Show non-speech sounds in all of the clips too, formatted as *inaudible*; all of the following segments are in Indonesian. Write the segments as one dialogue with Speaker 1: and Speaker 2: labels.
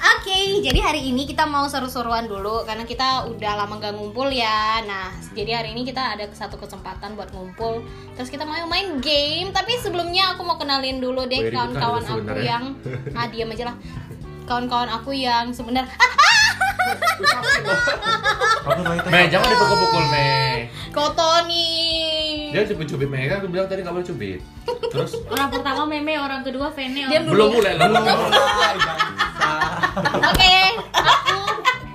Speaker 1: *laughs*
Speaker 2: jadi hari ini kita mau seru-seruan dulu karena kita udah lama gak ngumpul ya. Nah, jadi hari ini kita ada satu kesempatan buat ngumpul. Terus kita mau main game, tapi sebelumnya aku mau kenalin dulu
Speaker 3: Oh,
Speaker 2: deh
Speaker 3: jadi
Speaker 2: kawan-kawan
Speaker 3: kita ada
Speaker 2: aku
Speaker 3: sebenarnya.
Speaker 2: yang ah diam aja lah. Kawan-kawan aku yang sebenarnya ah,
Speaker 3: Aku tanya
Speaker 1: Mei, jangan dipukul-pukul, Mei.
Speaker 2: Kotoni.
Speaker 1: Dia cubit-cubit Mei kan, aku bilang tadi gak boleh cubit. Terus
Speaker 4: Orang pertama meme, orang kedua fene,
Speaker 2: Diam
Speaker 4: orang
Speaker 2: dulu.
Speaker 1: belum mulai lah.
Speaker 2: Oke, aku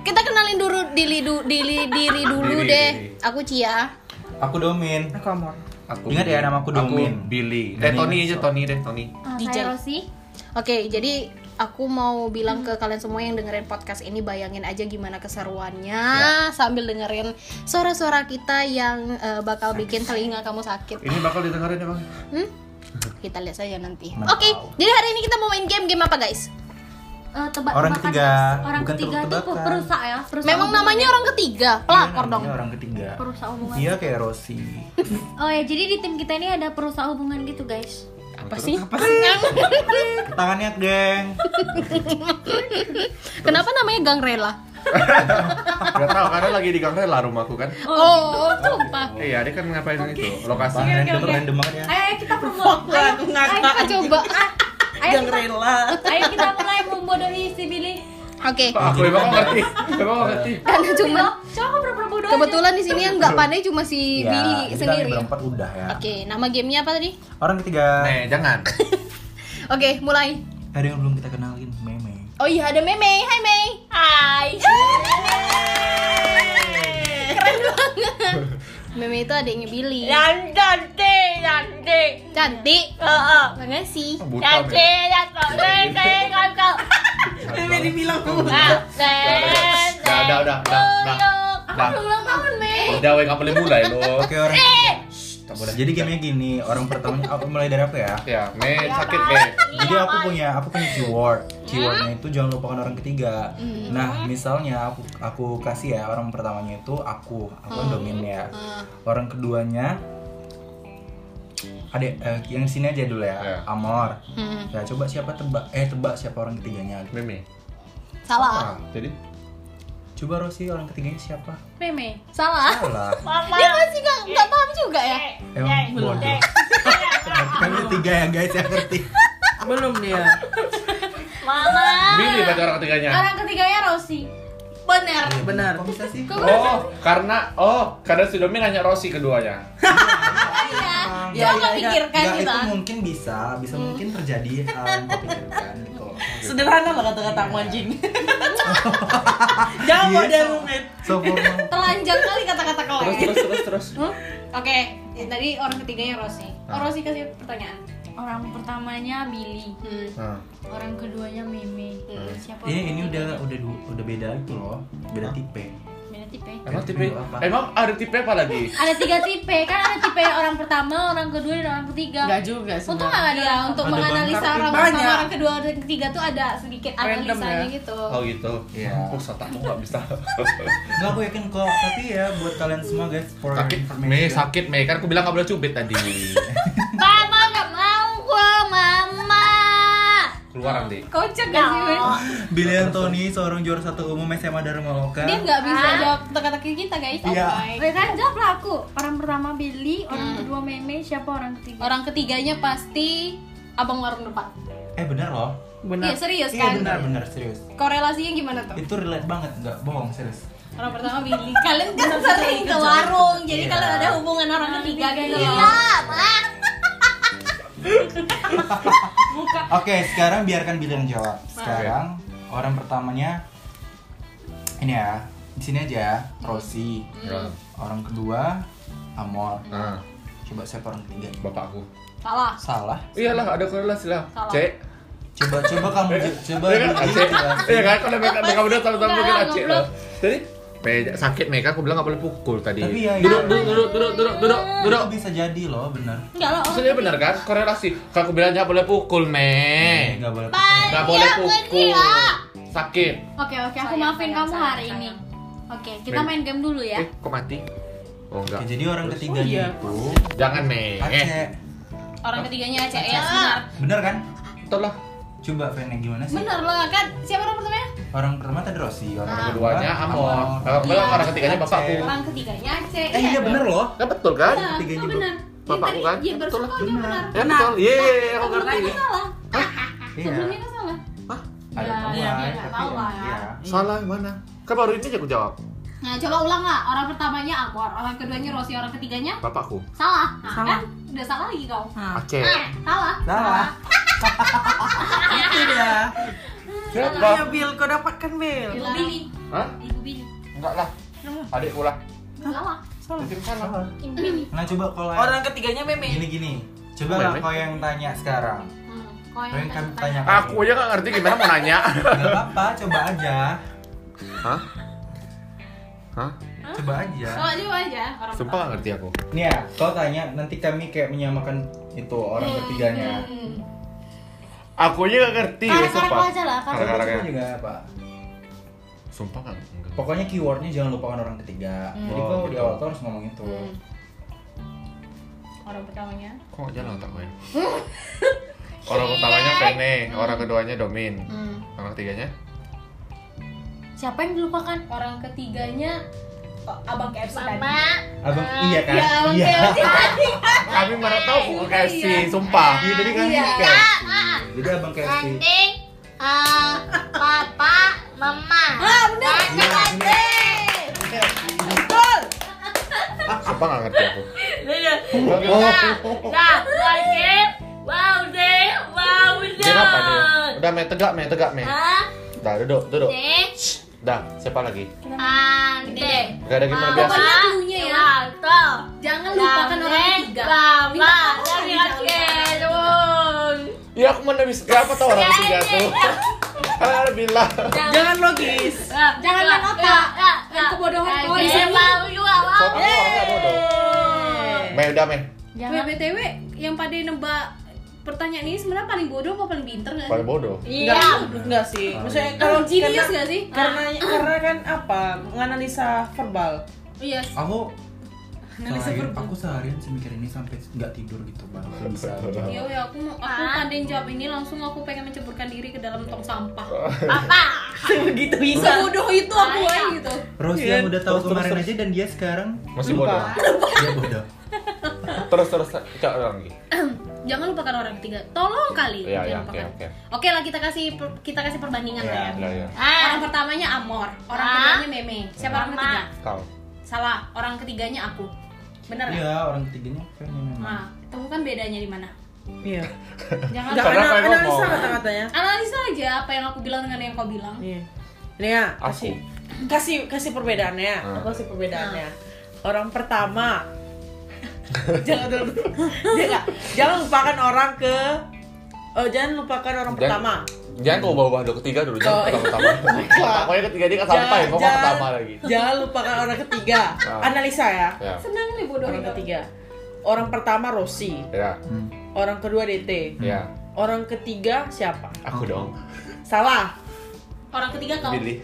Speaker 2: kita kenalin dulu diri du, diri diri dulu
Speaker 1: Diri,
Speaker 2: deh.
Speaker 1: diri.
Speaker 2: Aku Cia.
Speaker 3: Aku Domin.
Speaker 5: Aku Amor.
Speaker 1: Aku
Speaker 3: Ingat ya, nama aku Domin.
Speaker 1: Aku Billy. Eh,
Speaker 3: Domin.
Speaker 1: Tony aja, Tony deh, Tony.
Speaker 4: Ah,
Speaker 2: Dijel.
Speaker 4: saya Rosi.
Speaker 2: Oke, jadi aku mau bilang ke kalian semua yang dengerin podcast ini bayangin aja gimana keseruannya
Speaker 3: Ya.
Speaker 2: sambil dengerin suara-suara kita yang eh, bakal bikin telinga kamu sakit.
Speaker 1: Ini bakal didengerin *laughs* ya, Bang?
Speaker 3: *laughs*
Speaker 2: Hmm? Kita lihat saja nanti.
Speaker 3: Wow.
Speaker 2: Oke, jadi hari ini kita mau main game game apa guys?
Speaker 4: Eh, tebak
Speaker 3: Orang
Speaker 4: tebakan,
Speaker 3: ketiga.
Speaker 4: Mas. Orang
Speaker 3: Bukan
Speaker 4: ketiga itu
Speaker 3: tebak-tebakan.
Speaker 4: perusak ya, perusak.
Speaker 2: Memang
Speaker 4: hubungan.
Speaker 2: namanya orang ketiga, pelakor
Speaker 3: Iya,
Speaker 2: dong.
Speaker 3: namanya orang ketiga.
Speaker 4: perusak hubungan.
Speaker 3: Dia kayak Rosi.
Speaker 4: Oh ya, jadi di tim kita ini ada perusak hubungan gitu, guys.
Speaker 2: Apa sih? *laughs*
Speaker 3: Tangannya geng.
Speaker 2: Kenapa namanya Gang Rela?
Speaker 1: Gak tau, karena lagi di Gang Rela rumahku kan.
Speaker 2: Oh, sumpah.
Speaker 1: Iya, dia kan ngapain itu,
Speaker 3: Wah,
Speaker 1: lokasi.
Speaker 3: random random banget ya.
Speaker 4: Ayo, ayo kita promo. Ayo,
Speaker 5: aku
Speaker 4: ayo
Speaker 5: ngakak.
Speaker 4: kita
Speaker 2: Ah, Coba.
Speaker 4: Ayo
Speaker 5: Yang
Speaker 4: kita,
Speaker 5: rela.
Speaker 4: ayo kita mulai membodohi si Billy.
Speaker 2: Oke.
Speaker 1: Aku memang ngerti, *laughs* memang ngerti.
Speaker 2: Karena cuma
Speaker 4: Coba aku pura-pura bodoh.
Speaker 2: kebetulan di sini yang nggak pandai cuma si
Speaker 3: Ya,
Speaker 2: Billy
Speaker 3: ini
Speaker 2: sendiri.
Speaker 3: Kalian berempat udah ya.
Speaker 2: Oke, nama gamenya apa tadi?
Speaker 3: Orang ketiga.
Speaker 1: Nih, jangan.
Speaker 2: Oke, mulai.
Speaker 3: Ada yang belum kita kenalin, Meme.
Speaker 2: Oh iya ada Meme, hai Mei. Hai. Keren banget. Meme itu adiknya Billy.
Speaker 5: cantik, cantik.
Speaker 2: Cantik.
Speaker 5: Heeh.
Speaker 2: Makasih.
Speaker 1: Buta, Mei.
Speaker 5: Meme dibilang
Speaker 1: Udah, udah, udah, udah, udah. Udah,
Speaker 2: Ulang tahun Mei.
Speaker 1: udah, weh, nggak boleh mulai lo.
Speaker 3: Oke, orang.
Speaker 1: Nggak boleh.
Speaker 3: Jadi gamenya gini, orang pertama aku mulai dari apa ya?
Speaker 1: Ya, Mei sakit, Mei.
Speaker 3: Jadi aku punya aku punya keyword. Keywordnya itu jangan lupakan orang ketiga. Nah, misalnya aku aku kasih ya orang pertamanya itu aku, aku kan domin ya. Orang keduanya ada eh, yang sini aja dulu ya,
Speaker 1: Ya.
Speaker 3: Amor.
Speaker 2: Hmm,
Speaker 3: Ya coba siapa tebak eh tebak siapa orang ketiganya.
Speaker 1: Mei.
Speaker 2: salah.
Speaker 1: Ah, jadi
Speaker 3: Coba Rosi orang ketiganya siapa?
Speaker 4: Meme.
Speaker 2: Salah.
Speaker 3: Salah.
Speaker 2: Dia masih nggak nggak paham juga ya.
Speaker 3: Emang bodoh. Kan ketiga ya guys yang ngerti.
Speaker 5: Belum dia.
Speaker 1: Billy berarti orang ketiganya.
Speaker 4: Orang ketiganya Rosi.
Speaker 2: Bener.
Speaker 5: Benar.
Speaker 3: Kok bisa sih?
Speaker 1: Oh, karena oh, karena si Domi nanya Rosi keduanya.
Speaker 2: Coba
Speaker 5: Ya, ya, ya.
Speaker 4: kan
Speaker 2: pikirkan gitu ah. Hmm.
Speaker 3: Nggak,
Speaker 2: kita.
Speaker 3: itu mungkin bisa, bisa mungkin terjadi hal
Speaker 2: *laughs*
Speaker 3: yang dipikirkan gitu.
Speaker 5: Sederhana lah kata-kata aku *laughs* anjing. Jangan
Speaker 3: Iya,
Speaker 5: model
Speaker 3: so-
Speaker 5: rumit.
Speaker 3: So
Speaker 2: *laughs*
Speaker 3: formal.
Speaker 2: Telanjang kali kata-kata kalian.
Speaker 1: Terus terus terus
Speaker 3: *laughs*
Speaker 1: terus.
Speaker 2: Hmm? Oke, ya, tadi orang ketiganya Rosi.
Speaker 1: Ah.
Speaker 2: Oh, Rosi kasih pertanyaan.
Speaker 4: Orang pertamanya Billy.
Speaker 2: Hmm.
Speaker 1: Nah,
Speaker 4: Orang keduanya Meme. Siapa?
Speaker 2: Iya,
Speaker 3: Ini Iya, ini
Speaker 4: orang
Speaker 3: udah udah du- udah beda itu loh, beda tipe.
Speaker 4: ketiga? Beda tipe.
Speaker 1: emang tipe emang ada tipe apa lagi?
Speaker 4: Ada tipe tipe kan ada tipe orang pertama, orang kedua, dan orang ketiga.
Speaker 5: Enggak juga sih.
Speaker 2: Untung
Speaker 5: Mbak.
Speaker 2: nggak ada untuk
Speaker 3: Ada
Speaker 2: menganalisa
Speaker 5: banyak.
Speaker 2: orang pertama,
Speaker 5: Banyak.
Speaker 2: orang kedua, orang ketiga tuh ada sedikit
Speaker 5: Random
Speaker 2: analisanya
Speaker 5: ya.
Speaker 2: gitu.
Speaker 1: Oh gitu.
Speaker 3: Iya.
Speaker 1: Oh, otakmu nggak
Speaker 3: *laughs*
Speaker 1: bisa.
Speaker 3: Enggak aku yakin kok, tapi ya buat kalian semua guys for
Speaker 1: sakit
Speaker 3: information.
Speaker 1: Mei sakit Mei kan aku bilang nggak boleh cubit
Speaker 3: *laughs*
Speaker 1: tadi.
Speaker 2: Mama nggak mau gua, mama. Ya
Speaker 1: Keluar nanti.
Speaker 2: Kocak gak sih? Win?
Speaker 3: Billy Anthony seorang juara satu umum SMA Dharma Loka.
Speaker 2: Dia nggak bisa
Speaker 4: Ah.
Speaker 2: jawab teka-teki kita guys. Oh
Speaker 3: Iya.
Speaker 2: my.
Speaker 4: Oke kan jawab lah aku. Orang pertama Billy, orang
Speaker 2: Hmm.
Speaker 4: kedua Meme, siapa orang ketiga?
Speaker 2: Orang ketiganya pasti abang warung depan.
Speaker 3: Eh bener loh.
Speaker 5: Benar.
Speaker 2: Iya serius kan?
Speaker 3: Iya bener bener serius.
Speaker 2: Korelasinya gimana tuh?
Speaker 3: Itu relate banget, nggak bohong serius.
Speaker 2: Orang pertama Billy. *laughs* Kalian kan sering ke warung, jadi
Speaker 3: Iya.
Speaker 2: kalian ada hubungan orang ketiga gitu.
Speaker 4: ketiga iya.
Speaker 3: *laughs*
Speaker 2: Mak.
Speaker 3: Oke, sekarang biarkan Billy yang jawab. Sekarang orang pertamanya ini ya, di sini aja Rosi.
Speaker 1: Ya.
Speaker 3: Orang kedua Amor.
Speaker 1: Nah,
Speaker 3: Coba siapa orang ketiga?
Speaker 1: bapakku.
Speaker 2: Salah.
Speaker 3: Salah.
Speaker 1: Iyalah ada korelasi lah.
Speaker 2: Salah.
Speaker 1: C.
Speaker 3: Coba coba kamu j- coba
Speaker 1: Iya kan Aceh.
Speaker 3: Billy jelas.
Speaker 1: Iya kan kalau mereka mereka udah tahu tahu mungkin
Speaker 2: Enggak,
Speaker 1: Aceh
Speaker 2: goblok.
Speaker 1: loh. Jadi Mei sakit Mei kan aku bilang nggak boleh pukul tadi.
Speaker 3: Tapi ya,
Speaker 1: Duduk
Speaker 3: iya.
Speaker 1: duduk duduk duduk duduk duduk duduk.
Speaker 3: Itu bisa jadi loh, bener.
Speaker 2: Enggak lah.
Speaker 1: Maksudnya benar kan korelasi. Kalau aku bilang nggak boleh pukul Mei.
Speaker 3: Nggak boleh.
Speaker 1: Nggak boleh
Speaker 4: Iya,
Speaker 1: pukul. Sakit.
Speaker 4: Oke oke, aku
Speaker 2: Sayang,
Speaker 4: maafin
Speaker 2: sayang,
Speaker 4: kamu
Speaker 2: sayang,
Speaker 4: hari ini.
Speaker 2: sayang.
Speaker 4: Oke, kita
Speaker 1: Meme.
Speaker 4: main game dulu ya.
Speaker 1: Eh, kok mati? Oh iya.
Speaker 3: Oke,
Speaker 1: enggak.
Speaker 3: jadi orang ketiganya itu
Speaker 1: Jangan Eh, Mei.
Speaker 3: Aceh.
Speaker 2: Orang ketiganya Aceh ya.
Speaker 3: Bener kan?
Speaker 1: Betul lah.
Speaker 3: Coba Fene gimana sih?
Speaker 4: ya?
Speaker 2: Bener lah kan? Siapa orang pertamanya?
Speaker 3: Orang pertama tadi Rosi, orang
Speaker 2: Ah.
Speaker 3: keduanya
Speaker 1: Keduanya Amor. Kalau bilang orang ketiganya bapakku.
Speaker 4: Orang ketiganya C.
Speaker 3: Iya. Eh iya bener loh.
Speaker 1: Kan betul kan?
Speaker 4: Nah,
Speaker 3: ketiganya
Speaker 4: itu
Speaker 3: gua.
Speaker 4: benar.
Speaker 1: Bapakku kan?
Speaker 4: Yang
Speaker 1: Betul lah.
Speaker 4: bersama dia benar.
Speaker 1: Ya betul. Iya, iya, iya, aku ngerti.
Speaker 4: Sebelumnya itu salah. Sebelumnya
Speaker 3: Iya.
Speaker 4: itu salah.
Speaker 3: Ada
Speaker 4: Ya,
Speaker 3: teman,
Speaker 5: iya, iya,
Speaker 4: nggak
Speaker 3: tapi
Speaker 4: tahu lah ya.
Speaker 3: iya.
Speaker 1: Salah mana? Kan baru ini aja aku jawab.
Speaker 4: Nah, coba ulang nggak? Orang pertamanya Amor, orang keduanya Rosi, orang ketiganya
Speaker 1: Bapakku.
Speaker 4: salah. Nah,
Speaker 5: Salah.
Speaker 4: kan udah salah lagi kau.
Speaker 5: Nah,
Speaker 1: Aceh.
Speaker 4: Eh, salah.
Speaker 3: Salah. Iya.
Speaker 5: itu dia. Ayo
Speaker 1: Siapa?
Speaker 5: Bill, kau dapatkan Bill.
Speaker 2: Iya.
Speaker 4: Ibu Bini.
Speaker 1: Hah?
Speaker 4: Ibu Bini.
Speaker 1: Enggak lah. Adikku lah.
Speaker 4: Salah.
Speaker 5: Salah.
Speaker 1: Itu salah.
Speaker 3: Salah.
Speaker 4: Ibu Bini.
Speaker 3: Nah coba kalau
Speaker 5: Orang ketiganya
Speaker 1: Iya.
Speaker 5: meme.
Speaker 3: gini-gini. Coba lah
Speaker 1: Meme.
Speaker 3: kau yang tanya sekarang.
Speaker 4: Hmm,
Speaker 3: Kau
Speaker 1: kan
Speaker 3: yang kami
Speaker 4: tanya.
Speaker 3: tanya.
Speaker 1: Aku aja nggak ngerti gimana mau nanya.
Speaker 3: Gak apa-apa, coba aja.
Speaker 1: Hah? Hah?
Speaker 3: Coba aja.
Speaker 4: Coba coba aja. Orang
Speaker 1: Sumpah nggak ngerti aku.
Speaker 3: Nih ya, kau tanya nanti kami kayak menyamakan itu orang ketiganya.
Speaker 1: Aku aja nggak ngerti.
Speaker 2: Karena
Speaker 1: Sumpah.
Speaker 2: kau aja lah kan.
Speaker 1: Karena-
Speaker 3: Coba coba
Speaker 1: Karakternya.
Speaker 3: juga Pak.
Speaker 1: Sumpah nggak ngerti.
Speaker 3: Pokoknya keywordnya jangan lupakan orang ketiga. Jadi
Speaker 1: Oh,
Speaker 3: kau di
Speaker 1: gitu.
Speaker 3: awal tuh harus ngomong itu.
Speaker 2: Hmm. Orang pertamanya.
Speaker 1: Kok jalan tak
Speaker 2: *laughs*
Speaker 1: gue? ya? Orang utamanya Fene, orang keduanya Domin,
Speaker 2: Hmm.
Speaker 1: orang
Speaker 2: *laughs*
Speaker 1: ketiganya
Speaker 2: Siapa yang dilupakan?
Speaker 4: orang ketiganya oh, abang KFC tadi.
Speaker 2: Mama.
Speaker 3: Abang iya kan?
Speaker 2: Ya, abang
Speaker 3: iya.
Speaker 2: Kevin.
Speaker 1: Kami mana tahu ke KFC, sumpah.
Speaker 3: *laughs* Iya tadi kan
Speaker 2: Iya.
Speaker 3: KFC. Jadi abang KFC.
Speaker 2: Anting. eh, papa, mama. Ah, benar.
Speaker 3: Iya,
Speaker 1: Sumpah nggak ngerti aku.
Speaker 2: Iya.
Speaker 1: Oh,
Speaker 2: Nah,
Speaker 6: Wow deh, wow
Speaker 2: Iya.
Speaker 1: Dia apa dia?
Speaker 6: dong.
Speaker 1: Udah me tegak me tegak me.
Speaker 6: Hah?
Speaker 1: Dah duduk duduk.
Speaker 6: Deh,
Speaker 1: Dah siapa lagi?
Speaker 6: andeng.
Speaker 1: Gak ada gimana biasa.
Speaker 2: Pokoknya dulunya ya.
Speaker 6: Lato.
Speaker 2: Jangan lupakan orang ketiga. Minta
Speaker 6: Bapak,
Speaker 2: tolong
Speaker 6: lagi
Speaker 2: jangan
Speaker 6: lagi
Speaker 2: lupakan.
Speaker 6: dong.
Speaker 1: Iya aku mana bisa. Ya, Apa tahu orang ketiga tuh? *laughs* Alhamdulillah.
Speaker 5: Jangan logis.
Speaker 2: Jangan main otak. Main kebodohan kau di sini.
Speaker 6: Mau juga,
Speaker 1: Kok
Speaker 6: mau.
Speaker 1: kamu orang nggak bodoh?
Speaker 5: Iya.
Speaker 1: Me udah me.
Speaker 2: Jangan.
Speaker 4: BTW yang pada nebak pertanyaan ini sebenarnya paling bodoh apa paling pinter nggak
Speaker 1: Paling bodoh.
Speaker 2: Iya.
Speaker 5: Enggak, enggak sih. Maksudnya
Speaker 4: Kalau
Speaker 5: kalau
Speaker 4: genius
Speaker 5: karena, Ah.
Speaker 4: nggak sih?
Speaker 5: karena karena kan apa? Menganalisa verbal.
Speaker 4: Iya.
Speaker 3: Aku
Speaker 5: Analisa
Speaker 3: seharian,
Speaker 5: verbal.
Speaker 3: aku seharian sih mikir ini sampai nggak tidur gitu bang. Nggak bisa.
Speaker 4: Iya, weh, aku mau aku pandai jawab ini langsung aku pengen menceburkan diri ke dalam tong
Speaker 1: *laughs*
Speaker 4: sampah.
Speaker 2: Iya.
Speaker 5: Begitu Gitu bisa.
Speaker 4: Sebodoh itu aku weh gitu.
Speaker 3: Rosi yang udah tahu
Speaker 1: Terus,
Speaker 3: kemarin
Speaker 1: terus,
Speaker 3: aja dan dia sekarang
Speaker 1: Masih bodoh.
Speaker 5: Lupa.
Speaker 3: dia bodoh.
Speaker 1: Terus terus cak orang lagi.
Speaker 4: Jangan lupakan orang ketiga. Tolong kali.
Speaker 1: Iya,
Speaker 4: jangan
Speaker 1: iya,
Speaker 4: lupakan.
Speaker 1: oke, oke.
Speaker 4: Oke lah kita kasih per- kita kasih perbandingan
Speaker 3: Iya,
Speaker 4: lah ya.
Speaker 1: Udah ya.
Speaker 4: Orang pertamanya Amor, orang
Speaker 6: Ah.
Speaker 4: keduanya Meme. Siapa orang
Speaker 6: Mama.
Speaker 4: ketiga?
Speaker 1: Kau.
Speaker 4: Salah, orang ketiganya aku. Bener nggak?
Speaker 3: Iya orang ketiganya kan
Speaker 1: Iya.
Speaker 3: memang.
Speaker 4: Nah, temukan bedanya di mana?
Speaker 5: Iya.
Speaker 4: Jangan
Speaker 5: Enggak
Speaker 1: Karena
Speaker 5: ana-
Speaker 1: apa yang
Speaker 5: analisa
Speaker 1: ngomong?
Speaker 5: kata-katanya.
Speaker 4: analisa aja apa yang aku bilang dengan yang kau bilang.
Speaker 5: Iya. Ini ya,
Speaker 1: Aku.
Speaker 5: kasih kasih kasih perbedaannya.
Speaker 1: Hmm.
Speaker 5: Aku kasih perbedaannya. Orang pertama *laughs* jangan dulu. Dia nggak- jangan lupakan orang ke Oh, jangan lupakan orang
Speaker 1: Jangan-
Speaker 5: pertama.
Speaker 1: Jangan kau bawa-bawa dua ketiga dulu, jangan
Speaker 5: Oh,
Speaker 1: pertama
Speaker 5: *laughs*
Speaker 1: pertama. Takutnya ketiga dia kan sampai, kau mau
Speaker 5: jangan-
Speaker 1: pertama lagi.
Speaker 5: Jangan lupakan orang ketiga.
Speaker 1: Ah.
Speaker 5: Analisa ya.
Speaker 1: Ya,
Speaker 4: Senang nih bodoh
Speaker 5: Orang
Speaker 4: itu.
Speaker 5: ketiga. Orang pertama Rosi,
Speaker 1: ya,
Speaker 3: Hmm.
Speaker 5: orang kedua DT.
Speaker 1: ya.
Speaker 5: Orang ketiga siapa?
Speaker 1: Aku dong,
Speaker 5: Salah.
Speaker 4: Orang ketiga kau.
Speaker 1: Billy.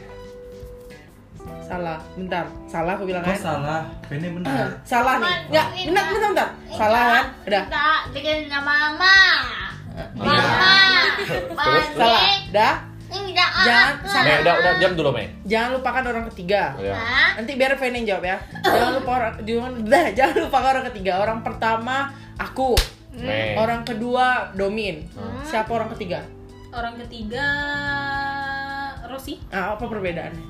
Speaker 5: Salah. Bentar. Salah aku bilang
Speaker 3: Kau
Speaker 5: kan.
Speaker 3: salah, Fene benar.
Speaker 5: Salah nih. Enggak, bentar, bentar, bentar. Salah kan? Udah.
Speaker 6: Kita
Speaker 3: Iya.
Speaker 6: bikin nama Mama.
Speaker 1: Iya.
Speaker 6: Mama.
Speaker 5: Salah.
Speaker 6: Banding.
Speaker 5: Dah.
Speaker 6: Enggak.
Speaker 5: Jangan
Speaker 1: Mei,
Speaker 5: salah.
Speaker 1: udah, udah, diam dulu Mei.
Speaker 5: Jangan lupakan orang ketiga.
Speaker 1: Ya.
Speaker 6: Hah?
Speaker 5: Nanti biar Feni yang jawab ya. Jangan lupa orang jangan, dah, jangan lupakan orang ketiga. Orang pertama aku.
Speaker 1: Mei.
Speaker 5: Orang kedua Domin.
Speaker 1: Hmm.
Speaker 5: Siapa orang ketiga?
Speaker 4: Orang ketiga Rosi.
Speaker 5: Ah, apa perbedaannya?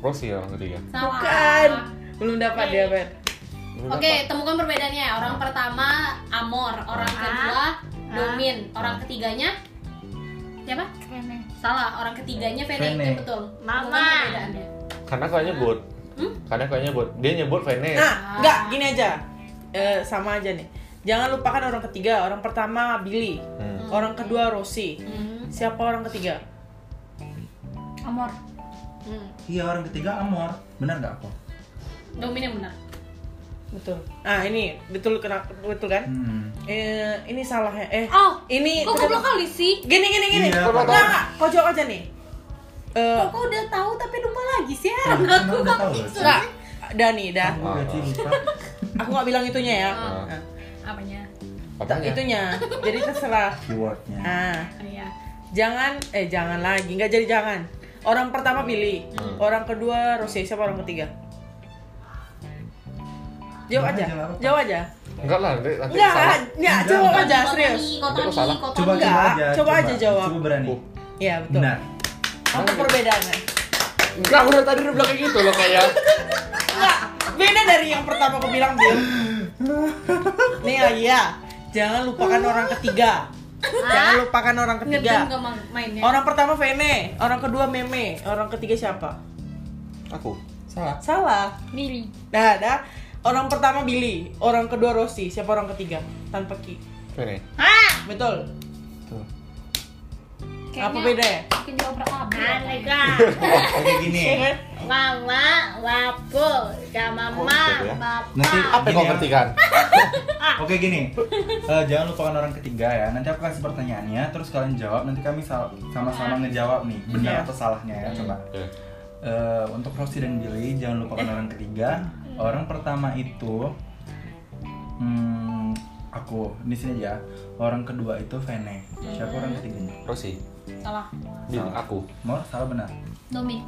Speaker 1: Rosi orang ketiga.
Speaker 4: Salah.
Speaker 5: Bukan. Belum dapat dia, Ben.
Speaker 4: Oke, temukan perbedaannya. Orang pertama Amor, orang kedua Domin, orang ketiganya siapa? Salah, orang ketiganya Fene,
Speaker 3: Fene.
Speaker 4: itu betul.
Speaker 6: Mama.
Speaker 4: Temukan perbedaannya.
Speaker 1: Karena kau nyebut.
Speaker 5: Hmm?
Speaker 1: Karena kau nyebut, dia nyebut Fene.
Speaker 5: Nah, enggak, gini aja. Eh, sama aja nih. Jangan lupakan orang ketiga. Orang pertama Billy.
Speaker 1: Hmm.
Speaker 5: Orang kedua Rosi. Siapa orang ketiga?
Speaker 4: Amor.
Speaker 3: Iya orang ketiga Amor, benar nggak aku?
Speaker 4: Domin yang benar.
Speaker 5: Betul. Ah, ini betul kena betul kan?
Speaker 3: Hmm.
Speaker 5: Eh, ini salahnya. Eh,
Speaker 4: Oh,
Speaker 5: ini
Speaker 4: kok goblok kali sih?
Speaker 5: Gini gini gini.
Speaker 3: Iya, Pak.
Speaker 5: Enggak, enggak, kau jawab aja nih. Eh,
Speaker 4: Kok udah tahu tapi lupa lagi sih? gitu.
Speaker 3: Aku
Speaker 4: Aku
Speaker 3: nggak tahu. Rosi.
Speaker 5: enggak. Dah nih, dah.
Speaker 3: Aku berarti Kan lupa.
Speaker 5: Aku nggak bilang itunya ya.
Speaker 4: Oh.
Speaker 5: Nah,
Speaker 4: apanya?
Speaker 3: Oh,
Speaker 5: tak-
Speaker 1: Apanya?
Speaker 3: iya.
Speaker 5: itunya. Jadi terserah.
Speaker 3: Keywordnya.
Speaker 5: Ah,
Speaker 4: Iya.
Speaker 5: jangan eh jangan lagi. Enggak jadi jangan. Orang pertama Billy,
Speaker 3: Hmm.
Speaker 5: orang kedua Rosie, siapa orang ketiga? Jawab
Speaker 3: Jawab
Speaker 5: aja,
Speaker 3: aja, nggak apa-apa.
Speaker 5: jawab aja.
Speaker 1: Enggak lah, nanti nanti
Speaker 5: Enggak,
Speaker 1: salah.
Speaker 5: enggak,
Speaker 3: Enggak.
Speaker 5: jawab aja,
Speaker 4: Kotoni,
Speaker 5: serius.
Speaker 4: Kotoni,
Speaker 1: Itu salah.
Speaker 4: Kotoni.
Speaker 3: Coba, coba
Speaker 5: Enggak,
Speaker 3: aja.
Speaker 5: coba aja jawab.
Speaker 3: Coba berani.
Speaker 1: Oh.
Speaker 5: Iya, betul.
Speaker 3: Benar.
Speaker 5: Apa perbedaannya?
Speaker 1: Enggak, udah tadi udah bilang kayak gitu loh kayak.
Speaker 5: Enggak, beda dari yang pertama aku bilang, Bill. Nih lagi ya, jangan lupakan orang ketiga. Jangan lupakan orang
Speaker 4: Ngedem
Speaker 5: ketiga.
Speaker 4: gak ma- mainnya?
Speaker 5: Orang pertama Vene, orang kedua Meme, orang ketiga siapa?
Speaker 1: Aku. Salah.
Speaker 5: Salah.
Speaker 4: Billy.
Speaker 5: Nah, ada orang pertama Billy, orang kedua Rosie, siapa orang ketiga? Tanpa Ki.
Speaker 1: Ini.
Speaker 5: Betul.
Speaker 1: Tuh.
Speaker 5: Apa ya? bedanya?
Speaker 4: Mungkin dia oper abrik.
Speaker 3: Oke gini.
Speaker 5: Iya kan?
Speaker 6: Mama, wabu, sama mama,
Speaker 1: gitu ya?
Speaker 6: bapak.
Speaker 3: Nanti
Speaker 1: Apa yang
Speaker 3: gini
Speaker 1: kau
Speaker 3: ya.
Speaker 1: ngerti kan?
Speaker 5: Ah.
Speaker 3: Oke gini. Eh, jangan lupakan orang ketiga ya. Nanti aku kasih pertanyaannya, terus kalian jawab. Nanti kami sal- sama-sama ngejawab nih, benar
Speaker 5: Ah. Iya.
Speaker 3: atau salahnya ya, coba. Eh, untuk Rosie dan Billy jangan
Speaker 5: Eh.
Speaker 3: lupakan orang ketiga. Orang pertama itu hmm, aku di sini aja. Orang kedua itu Vene. Siapa orang ketiganya?
Speaker 1: Rosi.
Speaker 4: Salah.
Speaker 1: Bil,
Speaker 3: Salah.
Speaker 1: aku.
Speaker 3: Mor salah benar.
Speaker 4: Domin.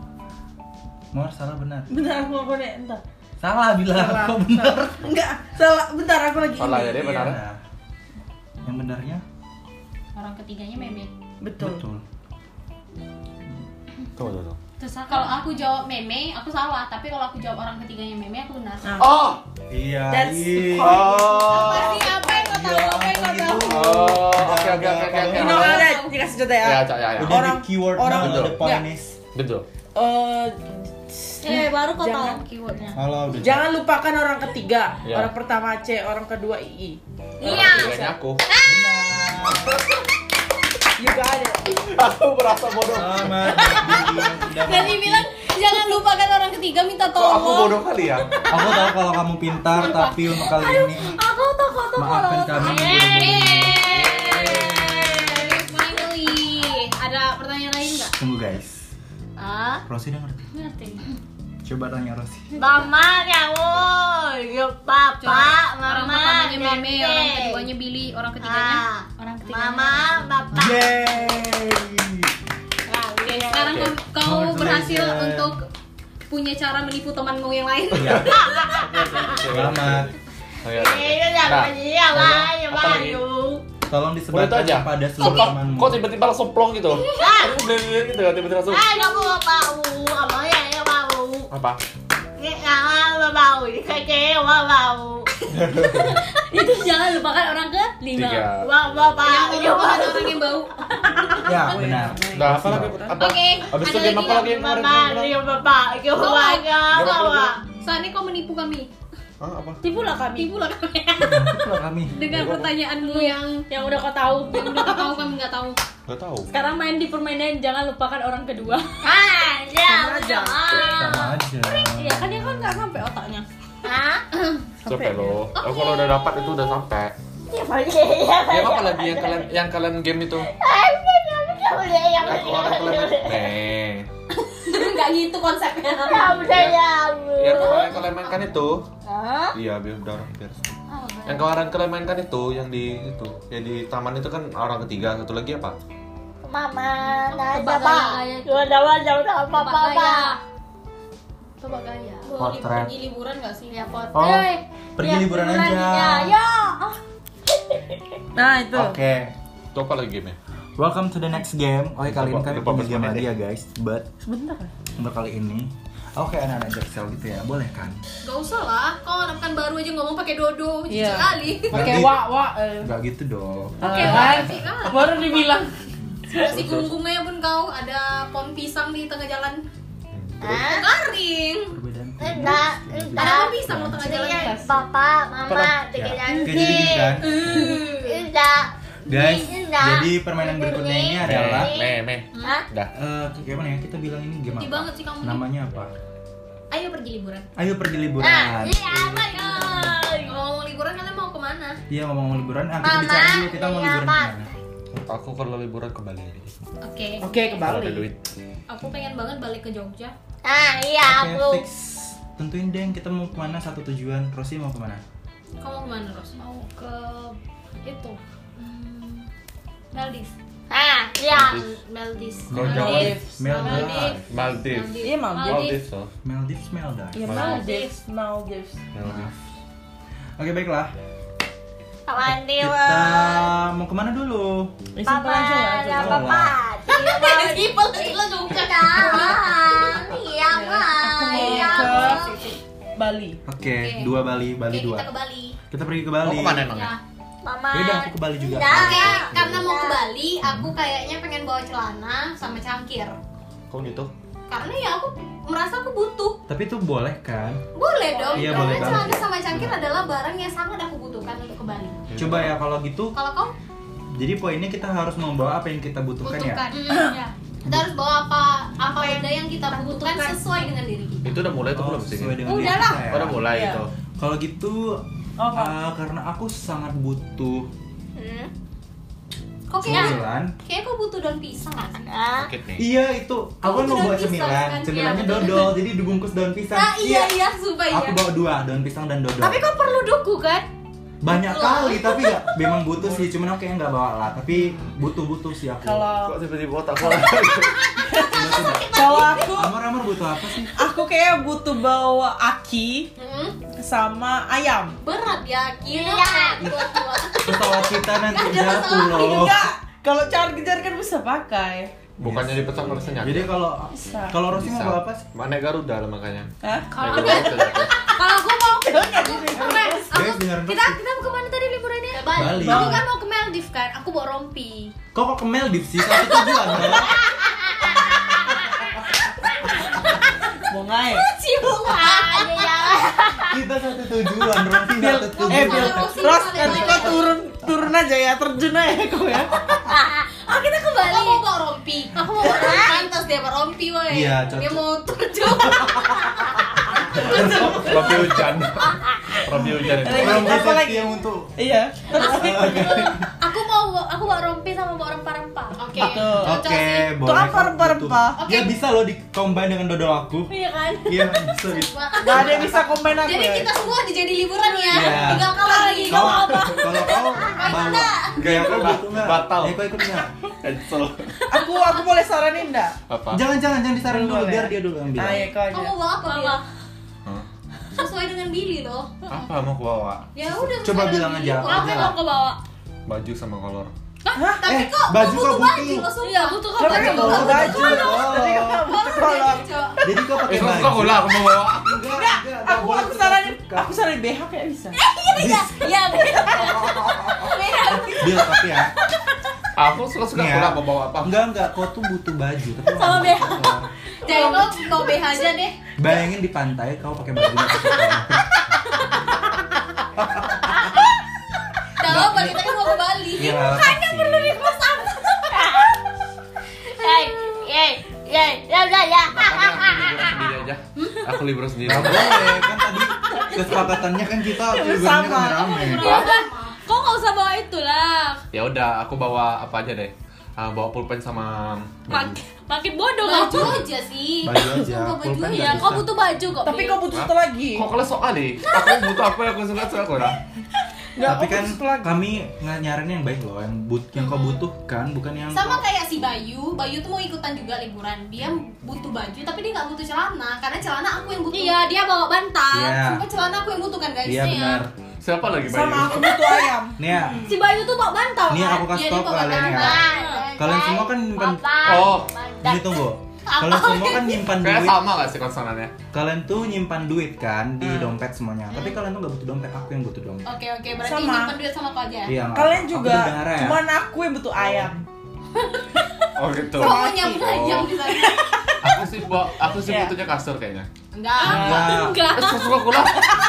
Speaker 3: Mor salah benar.
Speaker 5: *laughs* Bentar aku aku nih, entar.
Speaker 3: Salah bilang
Speaker 5: Salah,
Speaker 3: kok benar.
Speaker 5: salah. Enggak, salah. Bentar aku lagi.
Speaker 1: Salah ya
Speaker 5: ini.
Speaker 1: dia benar.
Speaker 3: Nah, yang benarnya
Speaker 4: Orang ketiganya meme.
Speaker 5: Betul.
Speaker 3: betul.
Speaker 1: Tuh, tuh, tuh.
Speaker 4: Terus kalau aku jawab meme, aku salah. Tapi kalau aku jawab orang ketiganya meme, aku benar.
Speaker 5: Nah.
Speaker 1: Oh.
Speaker 3: Iya.
Speaker 5: That's the
Speaker 3: iya.
Speaker 5: point.
Speaker 1: Oh.
Speaker 4: Pasti apa yang kau tahu? Apa yang kau
Speaker 3: Iya,
Speaker 4: tahu?
Speaker 3: gitu.
Speaker 1: Oh, oke oke oke oke.
Speaker 5: You know, ada dikasih contoh
Speaker 1: Ya,
Speaker 5: ya.
Speaker 1: Cak, ya, ya.
Speaker 3: Udah
Speaker 5: Orang-
Speaker 3: di keyword
Speaker 5: orang-
Speaker 4: ya.
Speaker 3: now, the point
Speaker 5: Nggak.
Speaker 3: is.
Speaker 1: Betul.
Speaker 5: Eh,
Speaker 6: Eh, baru kau tahu
Speaker 5: Jangan.
Speaker 6: keywordnya.
Speaker 3: Halo, udah.
Speaker 5: jangan lupakan orang ketiga.
Speaker 1: Iya.
Speaker 5: Orang pertama C, orang kedua II.
Speaker 1: Iya. Kayaknya aku. *laughs*
Speaker 5: You got it.
Speaker 1: Aku merasa bodoh.
Speaker 3: Selamat. Billy. Udah
Speaker 4: Dan dia bilang jangan lupakan orang ketiga minta
Speaker 1: Kok aku
Speaker 4: tolong.
Speaker 1: bodoh kali ya?
Speaker 3: Aku tahu kalau kamu pintar, tapi untuk kali ini
Speaker 4: Aku tuh kau tuh
Speaker 3: maafkan kami.
Speaker 4: Yeay, Finally, ada pertanyaan lain nggak?
Speaker 3: Tunggu guys,
Speaker 4: Ah,
Speaker 3: Rosie udah ngerti.
Speaker 4: ngerti.
Speaker 3: Coba tanya Rosie.
Speaker 6: Mama, wabu, yuk bapak,
Speaker 4: orang
Speaker 6: mama,
Speaker 4: pertamanya meme,
Speaker 6: dan
Speaker 4: orang
Speaker 6: Dek.
Speaker 4: keduanya Billy, orang ketiganya
Speaker 6: Ah,
Speaker 4: orang ketiganya.
Speaker 6: mama, bapak.
Speaker 3: Yeay.
Speaker 4: Oke, sekarang
Speaker 1: Oke. ya.
Speaker 4: kau- kau
Speaker 3: Congratulations.
Speaker 4: berhasil untuk punya cara menipu temanmu yang lain. *laughs*
Speaker 3: Iya. Selamat.
Speaker 1: Oke, oke.
Speaker 6: Iya, iya,
Speaker 1: Nah,
Speaker 6: iya, Pak, iya,
Speaker 1: apa
Speaker 6: Pak,
Speaker 1: lagi?
Speaker 6: yuk.
Speaker 3: Tolong
Speaker 1: Udah itu
Speaker 3: disebarkan
Speaker 1: aja.
Speaker 3: kepada seluruh
Speaker 1: Sumpah,
Speaker 3: temanmu.
Speaker 1: kok tiba-tiba langsung plong gitu?
Speaker 6: Ah.
Speaker 1: Aku bener-bener gitu kan, tiba-tiba langsung.
Speaker 6: Ay, no puedo bau, amor, ya, ya bau.
Speaker 1: Apa?
Speaker 6: Ya, ya, bau, dije que yo bau.
Speaker 4: Itu jangan lupakan orang ke lima.
Speaker 1: Tiga.
Speaker 6: Bau, bau, bau, yo
Speaker 4: Lupakan
Speaker 6: bau.
Speaker 4: orang yang bau.
Speaker 3: Ya, benar.
Speaker 1: Nah, apa lagi? Apa?
Speaker 4: Oke,
Speaker 1: Abis itu game
Speaker 4: ada lagi
Speaker 1: apa
Speaker 4: nggak?
Speaker 1: lagi yang kemarin?
Speaker 6: Mamá, yo papá, yo
Speaker 4: Bawa.
Speaker 6: papá, papá.
Speaker 4: Soalnya kau menipu kami.
Speaker 1: Hah, apa?
Speaker 5: Tipulah kami.
Speaker 4: Tipu lah kami *laughs*
Speaker 3: Itulah kami.
Speaker 4: dengan pertanyaanmu yang
Speaker 5: Yang udah kau tahu.
Speaker 4: yang udah kau tahu kami nggak tahu.
Speaker 1: Gak tahu.
Speaker 4: Sekarang main di permainan jangan lupakan orang kedua.
Speaker 6: Ah, ya,
Speaker 5: Sama aja.
Speaker 3: Sama aja.
Speaker 4: Iya kan dia kan nggak sampai otaknya.
Speaker 6: Ah,
Speaker 1: Sampai lo. Aku kalau udah dapat itu udah sampai. Iya,
Speaker 6: ya, ya,
Speaker 1: Ya apa lagi yang kalian yang kalian game itu? Iya, Aku orang kalian. Nih.
Speaker 4: *laughs* Nggak gitu konsepnya.
Speaker 1: Yang kemarin kalian mainkan itu? Iya, biar udah orang biar. Yang kemarin kalian mainkan itu yang di itu, yang di taman itu kan orang ketiga, satu lagi apa?
Speaker 6: Mama, nada, papá. Yo andaba, yo andaba,
Speaker 4: Coba gaya.
Speaker 6: papá.
Speaker 4: Coba gaya. Mau
Speaker 3: Potret.
Speaker 4: pergi liburan nggak sih? Ya pot.
Speaker 3: Oh, pergi liburan aja.
Speaker 4: Ya.
Speaker 5: Nah, itu.
Speaker 3: Oke.
Speaker 1: Itu apa lagi gamenya?
Speaker 3: Welcome to the next game. Oke, kali ini
Speaker 1: Lupa-
Speaker 3: kami
Speaker 1: lupa
Speaker 3: punya game
Speaker 1: bersemangat
Speaker 3: lagi
Speaker 1: ya.
Speaker 3: ya guys. But
Speaker 5: Sebentar.
Speaker 3: untuk kali ini, oke anak-anak Jaksel gitu ya, boleh kan?
Speaker 4: Gak usah lah. Kau orang kan baru aja ngomong pakai dodo. Jijik
Speaker 5: Iya.
Speaker 4: kali.
Speaker 5: Pakai
Speaker 3: Nanti-
Speaker 5: wa wa. eh.
Speaker 3: Gak gitu dong.
Speaker 5: Oke,
Speaker 4: Eh,
Speaker 5: kan?
Speaker 4: sih, kan?
Speaker 5: Baru dibilang.
Speaker 4: Si gungkungnya pun kau ada pohon pisang di tengah jalan. Garing.
Speaker 3: Perbedaan.
Speaker 6: Enggak,
Speaker 3: Iya.
Speaker 4: Ada
Speaker 6: enggak.
Speaker 4: pohon pisang di tengah jalan.
Speaker 6: Iya, Papa, mama, tiga
Speaker 3: Kayak
Speaker 6: janji.
Speaker 3: jadi gitu kan?
Speaker 6: Enggak.
Speaker 3: Guys,
Speaker 6: Enggak.
Speaker 3: jadi permainan berikutnya ini adalah
Speaker 1: Meh, meh.
Speaker 6: Hah?
Speaker 1: Dah.
Speaker 3: eh kayak mana ya kita bilang ini game
Speaker 4: Ngerti
Speaker 3: apa?
Speaker 4: banget sih kamu nih.
Speaker 3: Namanya apa?
Speaker 4: Ayo pergi liburan.
Speaker 3: Ayo pergi liburan.
Speaker 6: Nah, iya, apa itu?
Speaker 4: Kalau mau liburan kalian mau kemana?
Speaker 3: Iya ngomong liburan, ah, kita
Speaker 6: Mama,
Speaker 3: bicara dulu kita mau
Speaker 6: ini
Speaker 3: liburan
Speaker 6: apa?
Speaker 3: kemana?
Speaker 1: Aku kalau liburan ke Bali aja.
Speaker 4: Oke.
Speaker 5: Oke,
Speaker 1: Kalau ada
Speaker 5: kembali.
Speaker 1: duit.
Speaker 4: Aku pengen banget balik ke Jogja.
Speaker 6: Ah, iya,
Speaker 3: Oke,
Speaker 6: aku.
Speaker 3: fix. Tentuin deng kita mau kemana satu tujuan. Rosi mau kemana?
Speaker 4: Kau mau kemana Ros? Mau ke itu. Hmm, Maldives.
Speaker 6: Ah, Ya, Meldis.
Speaker 3: Maldives. Maldives.
Speaker 6: Maldives.
Speaker 1: Maldives.
Speaker 5: Iya Maldives.
Speaker 1: Maldives oh. loh.
Speaker 3: Maldives. Maldives.
Speaker 5: Iya Maldives, Maldives.
Speaker 1: Maldives.
Speaker 3: Oke baiklah.
Speaker 6: Kawan dewa.
Speaker 3: Kita mau kemana dulu?
Speaker 5: Ini simpel aja lah.
Speaker 6: Paman, ya
Speaker 5: coba.
Speaker 6: papa.
Speaker 4: Skipel sih lo juga.
Speaker 6: Kawan, iya
Speaker 5: Aku
Speaker 6: mah.
Speaker 5: mau
Speaker 6: Iya
Speaker 5: ke
Speaker 6: Ma.
Speaker 5: Bali.
Speaker 3: Oke, dua Bali, Bali
Speaker 4: Oke,
Speaker 3: dua.
Speaker 4: kita ke Bali.
Speaker 3: Kita pergi ke
Speaker 1: Mau
Speaker 3: Bali.
Speaker 1: kemana emangnya?
Speaker 6: Mama.
Speaker 3: Yaudah, aku ke Bali juga.
Speaker 6: Enggak.
Speaker 4: Oke, karena mau ke Bali, aku kayaknya pengen bawa celana sama cangkir.
Speaker 1: Kok gitu?
Speaker 4: Karena ya aku merasa aku butuh.
Speaker 3: Tapi itu boleh kan?
Speaker 4: Boleh dong.
Speaker 3: Iya,
Speaker 4: karena
Speaker 3: boleh banget.
Speaker 4: celana sama cangkir adalah barang yang sangat aku butuhkan untuk ke Bali.
Speaker 3: Coba ya kalau gitu.
Speaker 4: Kalau kau
Speaker 3: Jadi poinnya kita harus membawa apa yang kita butuhkan ya.
Speaker 4: butuhkan. Hmm. Kita harus bawa apa iya. apa benda yang kita butuhkan sesuai dengan diri kita.
Speaker 1: Itu udah mulai tuh
Speaker 3: Oh,
Speaker 1: belum sih?
Speaker 3: sesuai dengan
Speaker 4: Udah
Speaker 3: diri
Speaker 4: lah.
Speaker 3: kita ya.
Speaker 1: Oh, Udah mulai
Speaker 5: Iya.
Speaker 1: itu.
Speaker 3: Kalau gitu,
Speaker 5: Oh, Kak.
Speaker 3: eh, karena aku sangat butuh
Speaker 4: Kok kayak
Speaker 3: cemilan.
Speaker 4: kayak kau butuh daun pisang nggak sih?
Speaker 6: Ah.
Speaker 1: Sakit nih.
Speaker 3: Iya itu, aku kan mau
Speaker 4: butuh daun
Speaker 3: bawa
Speaker 4: pisang,
Speaker 3: cemilan.
Speaker 4: kan?
Speaker 3: Cemilannya
Speaker 4: Iya, betul.
Speaker 3: dodol, jadi dibungkus daun pisang.
Speaker 4: Nah, iya iya, supaya.
Speaker 3: Aku bawa dua, daun pisang dan dodol.
Speaker 6: Tapi kok perlu duku kan?
Speaker 3: Banyak kali, tapi ya memang butuh sih. Cuman aku kayaknya nggak bawa lah. Tapi butuh-butuh sih aku.
Speaker 5: Kalau
Speaker 1: Kok tiba-tiba otak gua?
Speaker 5: kalau aku
Speaker 3: Amar-amar butuh apa sih?
Speaker 5: aku kayak butuh bawa aki
Speaker 4: Mm-mm.
Speaker 5: sama ayam.
Speaker 4: Berat ya, gila.
Speaker 3: Pesawat kita nanti jatuh
Speaker 4: Oh.
Speaker 3: loh.
Speaker 5: Iya, Enggak, kalau charger kan bisa pakai.
Speaker 1: *laughs* Bukannya dipesan nggak bisa nyakit.
Speaker 3: Jadi kalau
Speaker 5: Bisa.
Speaker 3: kalau Rosi mau
Speaker 1: Bisa.
Speaker 3: bawa apa sih?
Speaker 1: Mana Garuda lah makanya.
Speaker 5: Hah?
Speaker 1: Naik
Speaker 5: gitu.
Speaker 1: Garuda bisa nyakit.
Speaker 4: Kalau aku mau
Speaker 3: Guys, dengerin
Speaker 6: Kita
Speaker 3: Rosi.
Speaker 6: kita mau kemana tadi liburannya?
Speaker 4: ke Bali.
Speaker 3: Bali.
Speaker 6: Kamu kan mau ke Maldives kan? Aku bawa
Speaker 4: *laughs*
Speaker 6: rompi.
Speaker 3: Kok kok kemel di sih? Satu tujuan Mel.
Speaker 5: Mau ngai.
Speaker 4: iya.
Speaker 3: Kita satu tujuan, Rosi
Speaker 5: Bil,
Speaker 3: satu
Speaker 5: eh
Speaker 3: tujuan.
Speaker 5: Bil, Ros nanti kau turun turun aja ya, terjun aja kau ya.
Speaker 6: *laughs* Oh kita ke
Speaker 4: Aku
Speaker 6: Bali.
Speaker 4: mau bawa rompi. Aku mau bawa rompi. *laughs* Pantas dia bawa rompi, woi.
Speaker 3: Iya, cocok.
Speaker 4: dia mau terjun.
Speaker 1: Rompi *laughs* hujan. Rompi hujan itu.
Speaker 3: Orang
Speaker 5: Apa
Speaker 3: Rosi
Speaker 5: lagi?
Speaker 3: yang untuk
Speaker 5: Iya.
Speaker 6: *laughs* Aku mau aku bawa rompi sama bawa rempah-rempah.
Speaker 4: Oke.
Speaker 5: Tuh.
Speaker 4: Cocok
Speaker 3: Oke,
Speaker 4: sih.
Speaker 3: boleh.
Speaker 5: Tuh apa rempah-rempah?
Speaker 3: Oke. Ya bisa loh dikombin dengan dodol aku.
Speaker 6: Iya kan?
Speaker 3: Iya, bisa bisa.
Speaker 5: Gak ada yang bisa komen aku
Speaker 4: Jadi
Speaker 5: ya.
Speaker 4: kita semua dijadi liburan ya.
Speaker 3: Iya.
Speaker 4: Tiga kali.
Speaker 3: Kalau kalau kau bawa gaya kau
Speaker 1: Ba-
Speaker 3: butuh nggak?
Speaker 1: batal.
Speaker 3: Ya, kau ikut nggak?
Speaker 1: Cancel.
Speaker 5: Aku aku boleh saranin enggak?
Speaker 1: Apa?
Speaker 3: Jangan jangan jangan disaring dulu,
Speaker 5: Boleh.
Speaker 3: biar dia dulu ambil.
Speaker 5: Ah, ya kau
Speaker 4: Kamu
Speaker 5: aja.
Speaker 4: mau bawa apa? Bil?
Speaker 1: Hah?
Speaker 4: Sesuai dengan Billy loh.
Speaker 1: Apa mau ku bawa?
Speaker 4: Ya udah.
Speaker 3: Coba
Speaker 4: sesuai
Speaker 3: bilang
Speaker 4: dengan
Speaker 3: aja,
Speaker 4: Billy.
Speaker 3: apa
Speaker 4: Wah,
Speaker 3: aja
Speaker 4: kan
Speaker 3: lah.
Speaker 4: aku bawa.
Speaker 1: Baju sama kolor.
Speaker 4: Tapi
Speaker 3: Eh,
Speaker 4: kok
Speaker 3: baju
Speaker 4: kok
Speaker 3: kok
Speaker 4: baju?
Speaker 3: butuh.
Speaker 4: Lo
Speaker 6: Iya,
Speaker 4: sudah butuh kok
Speaker 5: Kau
Speaker 4: baju.
Speaker 5: kan bawa baju. Tadi kau bawa
Speaker 4: Kalau
Speaker 5: kolor.
Speaker 4: cocok.
Speaker 3: oh. Jadi kau pakai
Speaker 1: Eh,
Speaker 3: baju.
Speaker 1: kok gula aku mau bawa?
Speaker 3: Enggak, enggak, enggak
Speaker 5: Aku
Speaker 3: boleh
Speaker 5: aku saranin,
Speaker 3: suka.
Speaker 5: aku saranin BH kayak bisa.
Speaker 6: *laughs*
Speaker 4: Iya, iya.
Speaker 3: Bil, tapi ya.
Speaker 1: Aku suka-suka
Speaker 3: Iya.
Speaker 1: gula mau bawa *laughs* apa?
Speaker 3: Enggak, enggak, kau tuh butuh baju, tapi
Speaker 4: Sama
Speaker 3: nggak butuh kolor.
Speaker 4: Jadi lo mau BH aja deh.
Speaker 3: Bayangin di pantai kau pakai baju nggak pakai kolor.
Speaker 4: Kalau balik tadi mau ke Bali.
Speaker 3: Iya, makanya perlu di
Speaker 6: Yay, yay, yay, ya ya ya.
Speaker 1: Makanya aku liburan sendiri aja. Aku liburan
Speaker 3: *laughs*
Speaker 1: sendiri.
Speaker 3: Gak boleh, kan tadi kesepakatannya kan kita
Speaker 5: Iya,
Speaker 3: liburannya
Speaker 5: Bersama.
Speaker 3: rame-rame
Speaker 4: Iya.
Speaker 6: Kok nggak usah bawa itu lah.
Speaker 1: Ya udah, aku bawa apa aja deh. Ah, bawa pulpen sama
Speaker 6: Makin makin bodoh
Speaker 4: Baju
Speaker 6: baju.
Speaker 4: aja sih.
Speaker 3: Baju aja,
Speaker 4: Sumpah, baju
Speaker 3: pulpen
Speaker 4: ya.
Speaker 3: nggak
Speaker 6: Ya, kau butuh baju kok.
Speaker 5: Tapi
Speaker 6: Bil.
Speaker 5: kau butuh satu lagi.
Speaker 1: Kok kalau soal nih? Aku butuh apa yang aku suka suka aku lah.
Speaker 5: Enggak,
Speaker 3: Tapi
Speaker 5: aku
Speaker 3: kan
Speaker 5: butuh satu lagi. Hmm.
Speaker 3: kami nggak nyaranin yang baik loh, yang, but, yang kau butuhkan bukan yang
Speaker 4: Sama kayak si Bayu, Bayu tuh mau ikutan juga liburan. Dia butuh baju tapi dia nggak butuh celana karena celana aku yang butuh.
Speaker 6: Iya, dia bawa bantal.
Speaker 3: Iya.
Speaker 4: Sumpah celana aku yang butuh kan guys
Speaker 3: Iya
Speaker 4: ya.
Speaker 3: benar
Speaker 1: Siapa lagi Bayu?
Speaker 5: Sama aku butuh ayam.
Speaker 3: Nih ya,
Speaker 5: Hmm.
Speaker 6: Si Bayu tuh bawa bantal. kan?
Speaker 3: nih aku kasih
Speaker 4: Iya,
Speaker 3: tau
Speaker 4: dia
Speaker 3: ke
Speaker 4: bawa
Speaker 3: kalian ya
Speaker 6: Nah,
Speaker 3: Kalian semua kan nyimpan
Speaker 1: Oh,
Speaker 3: Ini tunggu Kalian semua kan nyimpan
Speaker 1: kayak
Speaker 3: duit
Speaker 1: sama gak sih konsonannya?
Speaker 3: Kalian tuh nyimpan duit kan di dompet semuanya Tapi kalian tuh nggak butuh dompet, aku yang butuh dompet
Speaker 4: Oke oke, berarti
Speaker 5: Sama.
Speaker 4: nyimpen duit sama kau aja.
Speaker 3: Iya, nggak
Speaker 5: Kalian
Speaker 3: apa-apa. Aku
Speaker 5: juga,
Speaker 3: udah ngarah ya.
Speaker 5: cuman aku yang butuh ayam.
Speaker 1: Oh gitu.
Speaker 4: Kau mau nyambung
Speaker 6: Oh.
Speaker 4: ayam di sana.
Speaker 1: Aku sih bawa, aku sih
Speaker 5: Iya.
Speaker 1: butuhnya kasur kayaknya.
Speaker 4: Enggak.
Speaker 3: Nggak,
Speaker 4: Iya.
Speaker 6: Enggak.
Speaker 1: Eh, suka suka aku lah.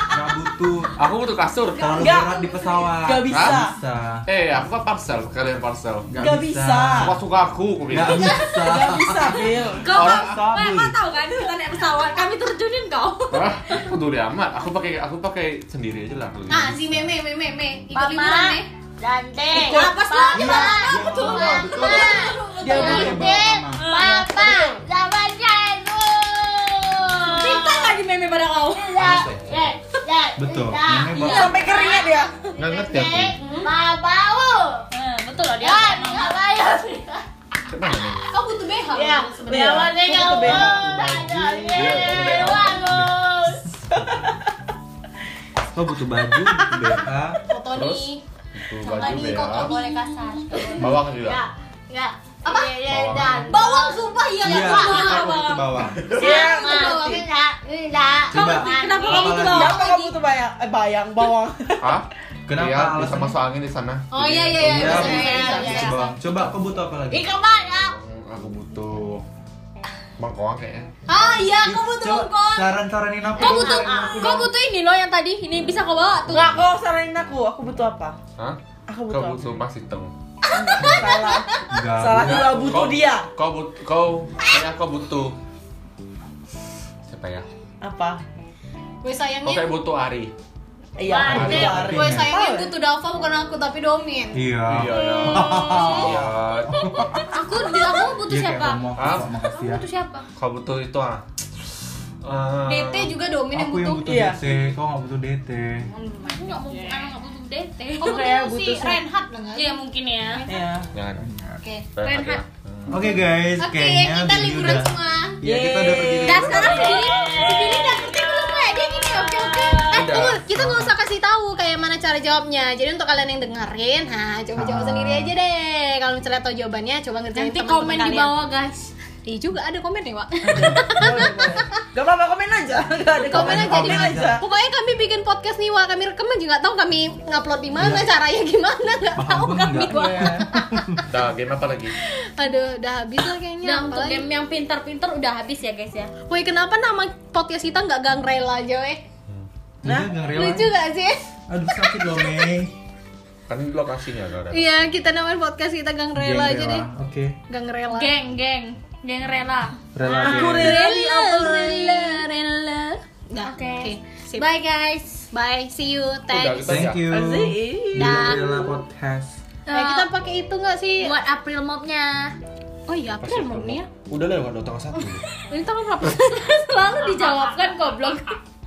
Speaker 3: nggak butuh
Speaker 1: Aku butuh kasur.
Speaker 3: Terlalu
Speaker 5: Nggak.
Speaker 3: berat di pesawat
Speaker 5: Gak bisa.
Speaker 3: Nggak bisa
Speaker 1: Eh, aku kan parcel, kalian parcel.
Speaker 5: Nggak bisa.
Speaker 1: Suka suka aku, aku
Speaker 3: Nggak
Speaker 1: bilang.
Speaker 3: bisa
Speaker 5: Gak bisa, Bil.
Speaker 6: Kau
Speaker 1: Orang
Speaker 6: kau
Speaker 3: sabi.
Speaker 6: kau tahu kan kita naik pesawat kami terjunin kau.
Speaker 1: Hah? Aku peduli amat. Aku pakai aku pakai sendiri aja lah.
Speaker 4: Nah, si Meme, Meme, Meme, ikut
Speaker 6: Mama.
Speaker 4: liburan Meme.
Speaker 6: Dante.
Speaker 5: Ikut.
Speaker 6: Apa sih?
Speaker 3: Iya, betul, betul.
Speaker 5: Dia butuh
Speaker 3: Boleh bawa sama.
Speaker 6: Papa, zaman jago.
Speaker 4: Kita lagi Meme pada kau.
Speaker 1: Panas ya?
Speaker 4: iya,
Speaker 3: Betul. Meme
Speaker 5: Ini
Speaker 3: bawa-
Speaker 5: sampai keringat ya.
Speaker 2: Hmm?
Speaker 1: Nggak ngerti aku.
Speaker 6: Mau bau.
Speaker 2: Ah,
Speaker 4: Betul loh
Speaker 2: *laughs*
Speaker 6: Ya, nggak bayar.
Speaker 1: Kenapa nih?
Speaker 2: Kau butuh BH
Speaker 7: Ya,
Speaker 2: memang
Speaker 5: Iya.
Speaker 2: sebenarnya. Iya,
Speaker 3: Lo butuh baju, butuh BH,
Speaker 2: Foto
Speaker 1: Terus?
Speaker 2: nih.
Speaker 1: Butuh
Speaker 4: Nggak
Speaker 1: baju
Speaker 4: di
Speaker 1: BH.
Speaker 4: kok boleh kasar.
Speaker 1: Bawang juga.
Speaker 4: Ya, ya. Apa? Ya,
Speaker 1: Bawang.
Speaker 4: dan.
Speaker 2: Bawang Iya. sumpah iya
Speaker 3: Iya,
Speaker 2: nggak tahu.
Speaker 3: aku butuh bawang
Speaker 5: Iya,
Speaker 4: Bawang enggak, enggak.
Speaker 3: Coba,
Speaker 2: Kenapa kamu tuh
Speaker 3: Bawang
Speaker 5: Kenapa
Speaker 2: bawang
Speaker 5: kamu tuh bayang, eh, bayang bawang?
Speaker 1: Hah?
Speaker 3: Kenapa
Speaker 1: Iya,
Speaker 3: alasannya?
Speaker 1: bisa masuk angin di sana.
Speaker 2: Oh iya iya iya.
Speaker 3: Iya,
Speaker 2: bisa, bisa,
Speaker 3: butuh
Speaker 2: bisa,
Speaker 3: baju,
Speaker 2: bisa.
Speaker 3: butuh bawang Coba aku butuh apa lagi?
Speaker 4: Ikan banyak.
Speaker 1: Hmm, Aku butuh bangkoang kayaknya.
Speaker 2: Ah iya, kau butuh
Speaker 3: Coba
Speaker 2: bangkon.
Speaker 3: saran-saranin aku Iya.
Speaker 2: Kau
Speaker 3: dong,
Speaker 2: butuh
Speaker 3: saranin aku
Speaker 2: kau
Speaker 3: dong.
Speaker 2: butuh ini loh yang tadi. Ini bisa kau bawa tuh.
Speaker 5: *laughs* Enggak, kau saranin aku. Aku butuh apa?
Speaker 1: Hah?
Speaker 5: Aku
Speaker 1: Kau
Speaker 5: butuh apa?
Speaker 1: butuh mas hitam.
Speaker 5: Salah.
Speaker 3: Enggak,
Speaker 5: Salah
Speaker 3: bukan.
Speaker 5: juga butuh
Speaker 1: Kau-
Speaker 5: dia.
Speaker 1: Kau but kau kayaknya kau butuh. Siapa ya?
Speaker 5: Apa?
Speaker 2: Gue
Speaker 1: Kau
Speaker 2: sayangnya
Speaker 1: kayak butuh Ari.
Speaker 5: Iya,
Speaker 4: Wah,
Speaker 5: aku
Speaker 1: ini-
Speaker 5: butuh Ari.
Speaker 2: gue sayangnya
Speaker 5: Tahu.
Speaker 2: butuh Dava bukan aku tapi Domin.
Speaker 3: Iya
Speaker 1: Iya ya.
Speaker 5: Oh.
Speaker 1: Iya.
Speaker 2: Aku aku
Speaker 4: "Oh,
Speaker 2: butuh
Speaker 3: Dia Iya, kayak
Speaker 2: siapa?
Speaker 3: ngomong,
Speaker 1: Hah?
Speaker 3: "Kok makasih ya." Ah,
Speaker 4: Itu "Oh, siapa?
Speaker 1: Kau butuh itu ah. Eh,
Speaker 2: DT
Speaker 5: Gitu.
Speaker 2: juga Domin yang
Speaker 3: Aku yang
Speaker 2: butuh.
Speaker 3: butuh
Speaker 5: Iya.
Speaker 3: DT, kau nggak butuh DT
Speaker 4: Aku nggak mau, emang nggak butuh DT.
Speaker 2: Kau
Speaker 5: Kayak
Speaker 2: Iya. butuh si
Speaker 5: butuh sih.
Speaker 2: Renhat enggak?
Speaker 4: Iya mungkin ya.
Speaker 2: *laughs*
Speaker 5: Iya.
Speaker 1: Jangan.
Speaker 2: Oke.
Speaker 1: Renhat ya.
Speaker 2: Renhat.
Speaker 1: Hmm.
Speaker 3: Oke guys,
Speaker 2: Oke, ya,
Speaker 3: kayaknya
Speaker 2: kita
Speaker 3: Billy
Speaker 2: liburan
Speaker 3: udah-
Speaker 2: semua.
Speaker 3: Iya, kita udah pergi
Speaker 5: Yeay.
Speaker 2: Nah sekarang si Billy, si Billy udah ngerti belum kayak dia gini oke oke. Eh
Speaker 1: Udah.
Speaker 2: tunggu, kita nggak usah kasih tahu kayak mana cara jawabnya. Jadi untuk kalian yang dengerin, nah coba jawab
Speaker 3: Ah.
Speaker 2: sendiri aja deh. Kalau misalnya tahu jawabannya, coba ngerjain
Speaker 4: Nanti
Speaker 2: teman-teman
Speaker 4: komen di
Speaker 2: kalian.
Speaker 4: bawah guys.
Speaker 2: Iya juga ada komen nih, Wak.
Speaker 5: Boleh, boleh. Gak apa-apa, komen aja. Gak ada
Speaker 2: komen aja di
Speaker 5: Komen aja.
Speaker 2: *laughs* Pokoknya kami bikin podcast nih, Wak. Kami rekaman juga nggak tahu kami ngupload di mana, caranya gimana
Speaker 3: *laughs*
Speaker 2: nggak tahu
Speaker 3: Paham
Speaker 2: kami,
Speaker 3: nggak?
Speaker 2: Wak.
Speaker 5: Iya.
Speaker 1: Dah, game apa lagi?
Speaker 2: Aduh, udah habis lah kayaknya.
Speaker 4: Nah
Speaker 2: Iya,
Speaker 4: untuk
Speaker 2: Apalagi? Iya.
Speaker 4: game yang pintar-pintar udah habis ya guys ya.
Speaker 2: Woi, kenapa nama podcast kita nggak Gangrela aja, weh?
Speaker 5: Nah,
Speaker 3: Udah, nggak rela.
Speaker 2: Lucu gak sih?
Speaker 3: Aduh sakit loh Mei
Speaker 1: Kan ini lokasinya kau ada.
Speaker 2: Iya, kita namain podcast kita
Speaker 3: Iya,
Speaker 2: Gangrela aja deh.
Speaker 3: Oke
Speaker 2: Gangrela.
Speaker 4: Geng, geng, geng rela.
Speaker 3: Rela
Speaker 5: Aku
Speaker 3: deh.
Speaker 5: rela di
Speaker 2: Rela, rela, rela. Nah,
Speaker 4: Oke.
Speaker 2: oke. Sip. Bye.
Speaker 4: Bye guys.
Speaker 2: See you.
Speaker 1: Udah
Speaker 2: Thanks.
Speaker 1: kita ya.
Speaker 3: Thank you
Speaker 5: Asik.
Speaker 3: Bila Rela Podcast
Speaker 2: Eh, kita pakai itu nggak sih?
Speaker 4: Buat April mobnya. *laughs*
Speaker 2: Oh iya, April mau nih ya.
Speaker 1: Udah lewat udah tanggal satu.
Speaker 2: Ini tanggal berapa?
Speaker 4: Selalu dijawabkan goblok.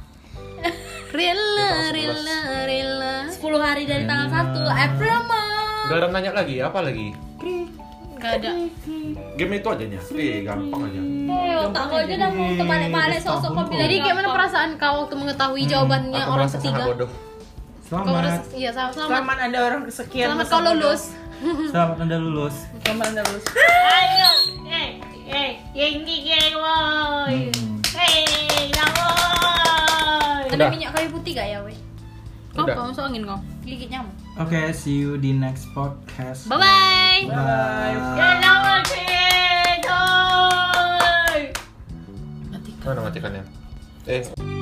Speaker 2: *laughs*
Speaker 4: *laughs*
Speaker 2: Rela, rela, rela.
Speaker 4: 10 hari dari tanggal 1 April mob.
Speaker 1: Gak ada nanya lagi, apa lagi?
Speaker 2: Gak ada.
Speaker 1: Game itu aja nih. Eh, gampang aja.
Speaker 5: Hmm,
Speaker 2: Iya,
Speaker 4: Ayo, kamu aja dah mau kebalik-balik sosok kau bilang
Speaker 2: Jadi
Speaker 4: gampang.
Speaker 2: gimana perasaan kau waktu mengetahui jawabannya
Speaker 1: Iya. Hmm, Aku
Speaker 2: orang
Speaker 1: merasa sangat
Speaker 2: ketiga?
Speaker 1: bodoh.
Speaker 2: Kau merasa
Speaker 3: Selamat
Speaker 2: iya selamat. Selamat,
Speaker 5: Selamat Anda orang kesekian.
Speaker 2: selamat
Speaker 5: masa
Speaker 2: kau
Speaker 5: muda.
Speaker 2: lulus.
Speaker 3: Selamat anda lulus
Speaker 5: Selamat Anda lulus.
Speaker 4: Ayo. Eh, eh, yang ini geng
Speaker 2: Oh, iya.
Speaker 4: woi.
Speaker 3: Hmm.
Speaker 4: Hei, dah woi.
Speaker 2: Ada
Speaker 1: Udah.
Speaker 2: minyak kayu putih gak ya, weh? Kau
Speaker 1: Udah.
Speaker 2: kau masuk angin kau.
Speaker 4: Gigit nyamuk.
Speaker 3: Oke see you di next podcast
Speaker 2: Bye Ya, bye.
Speaker 3: Bye
Speaker 4: Dah woi, hei, woi.
Speaker 1: Mana matikannya? Eh,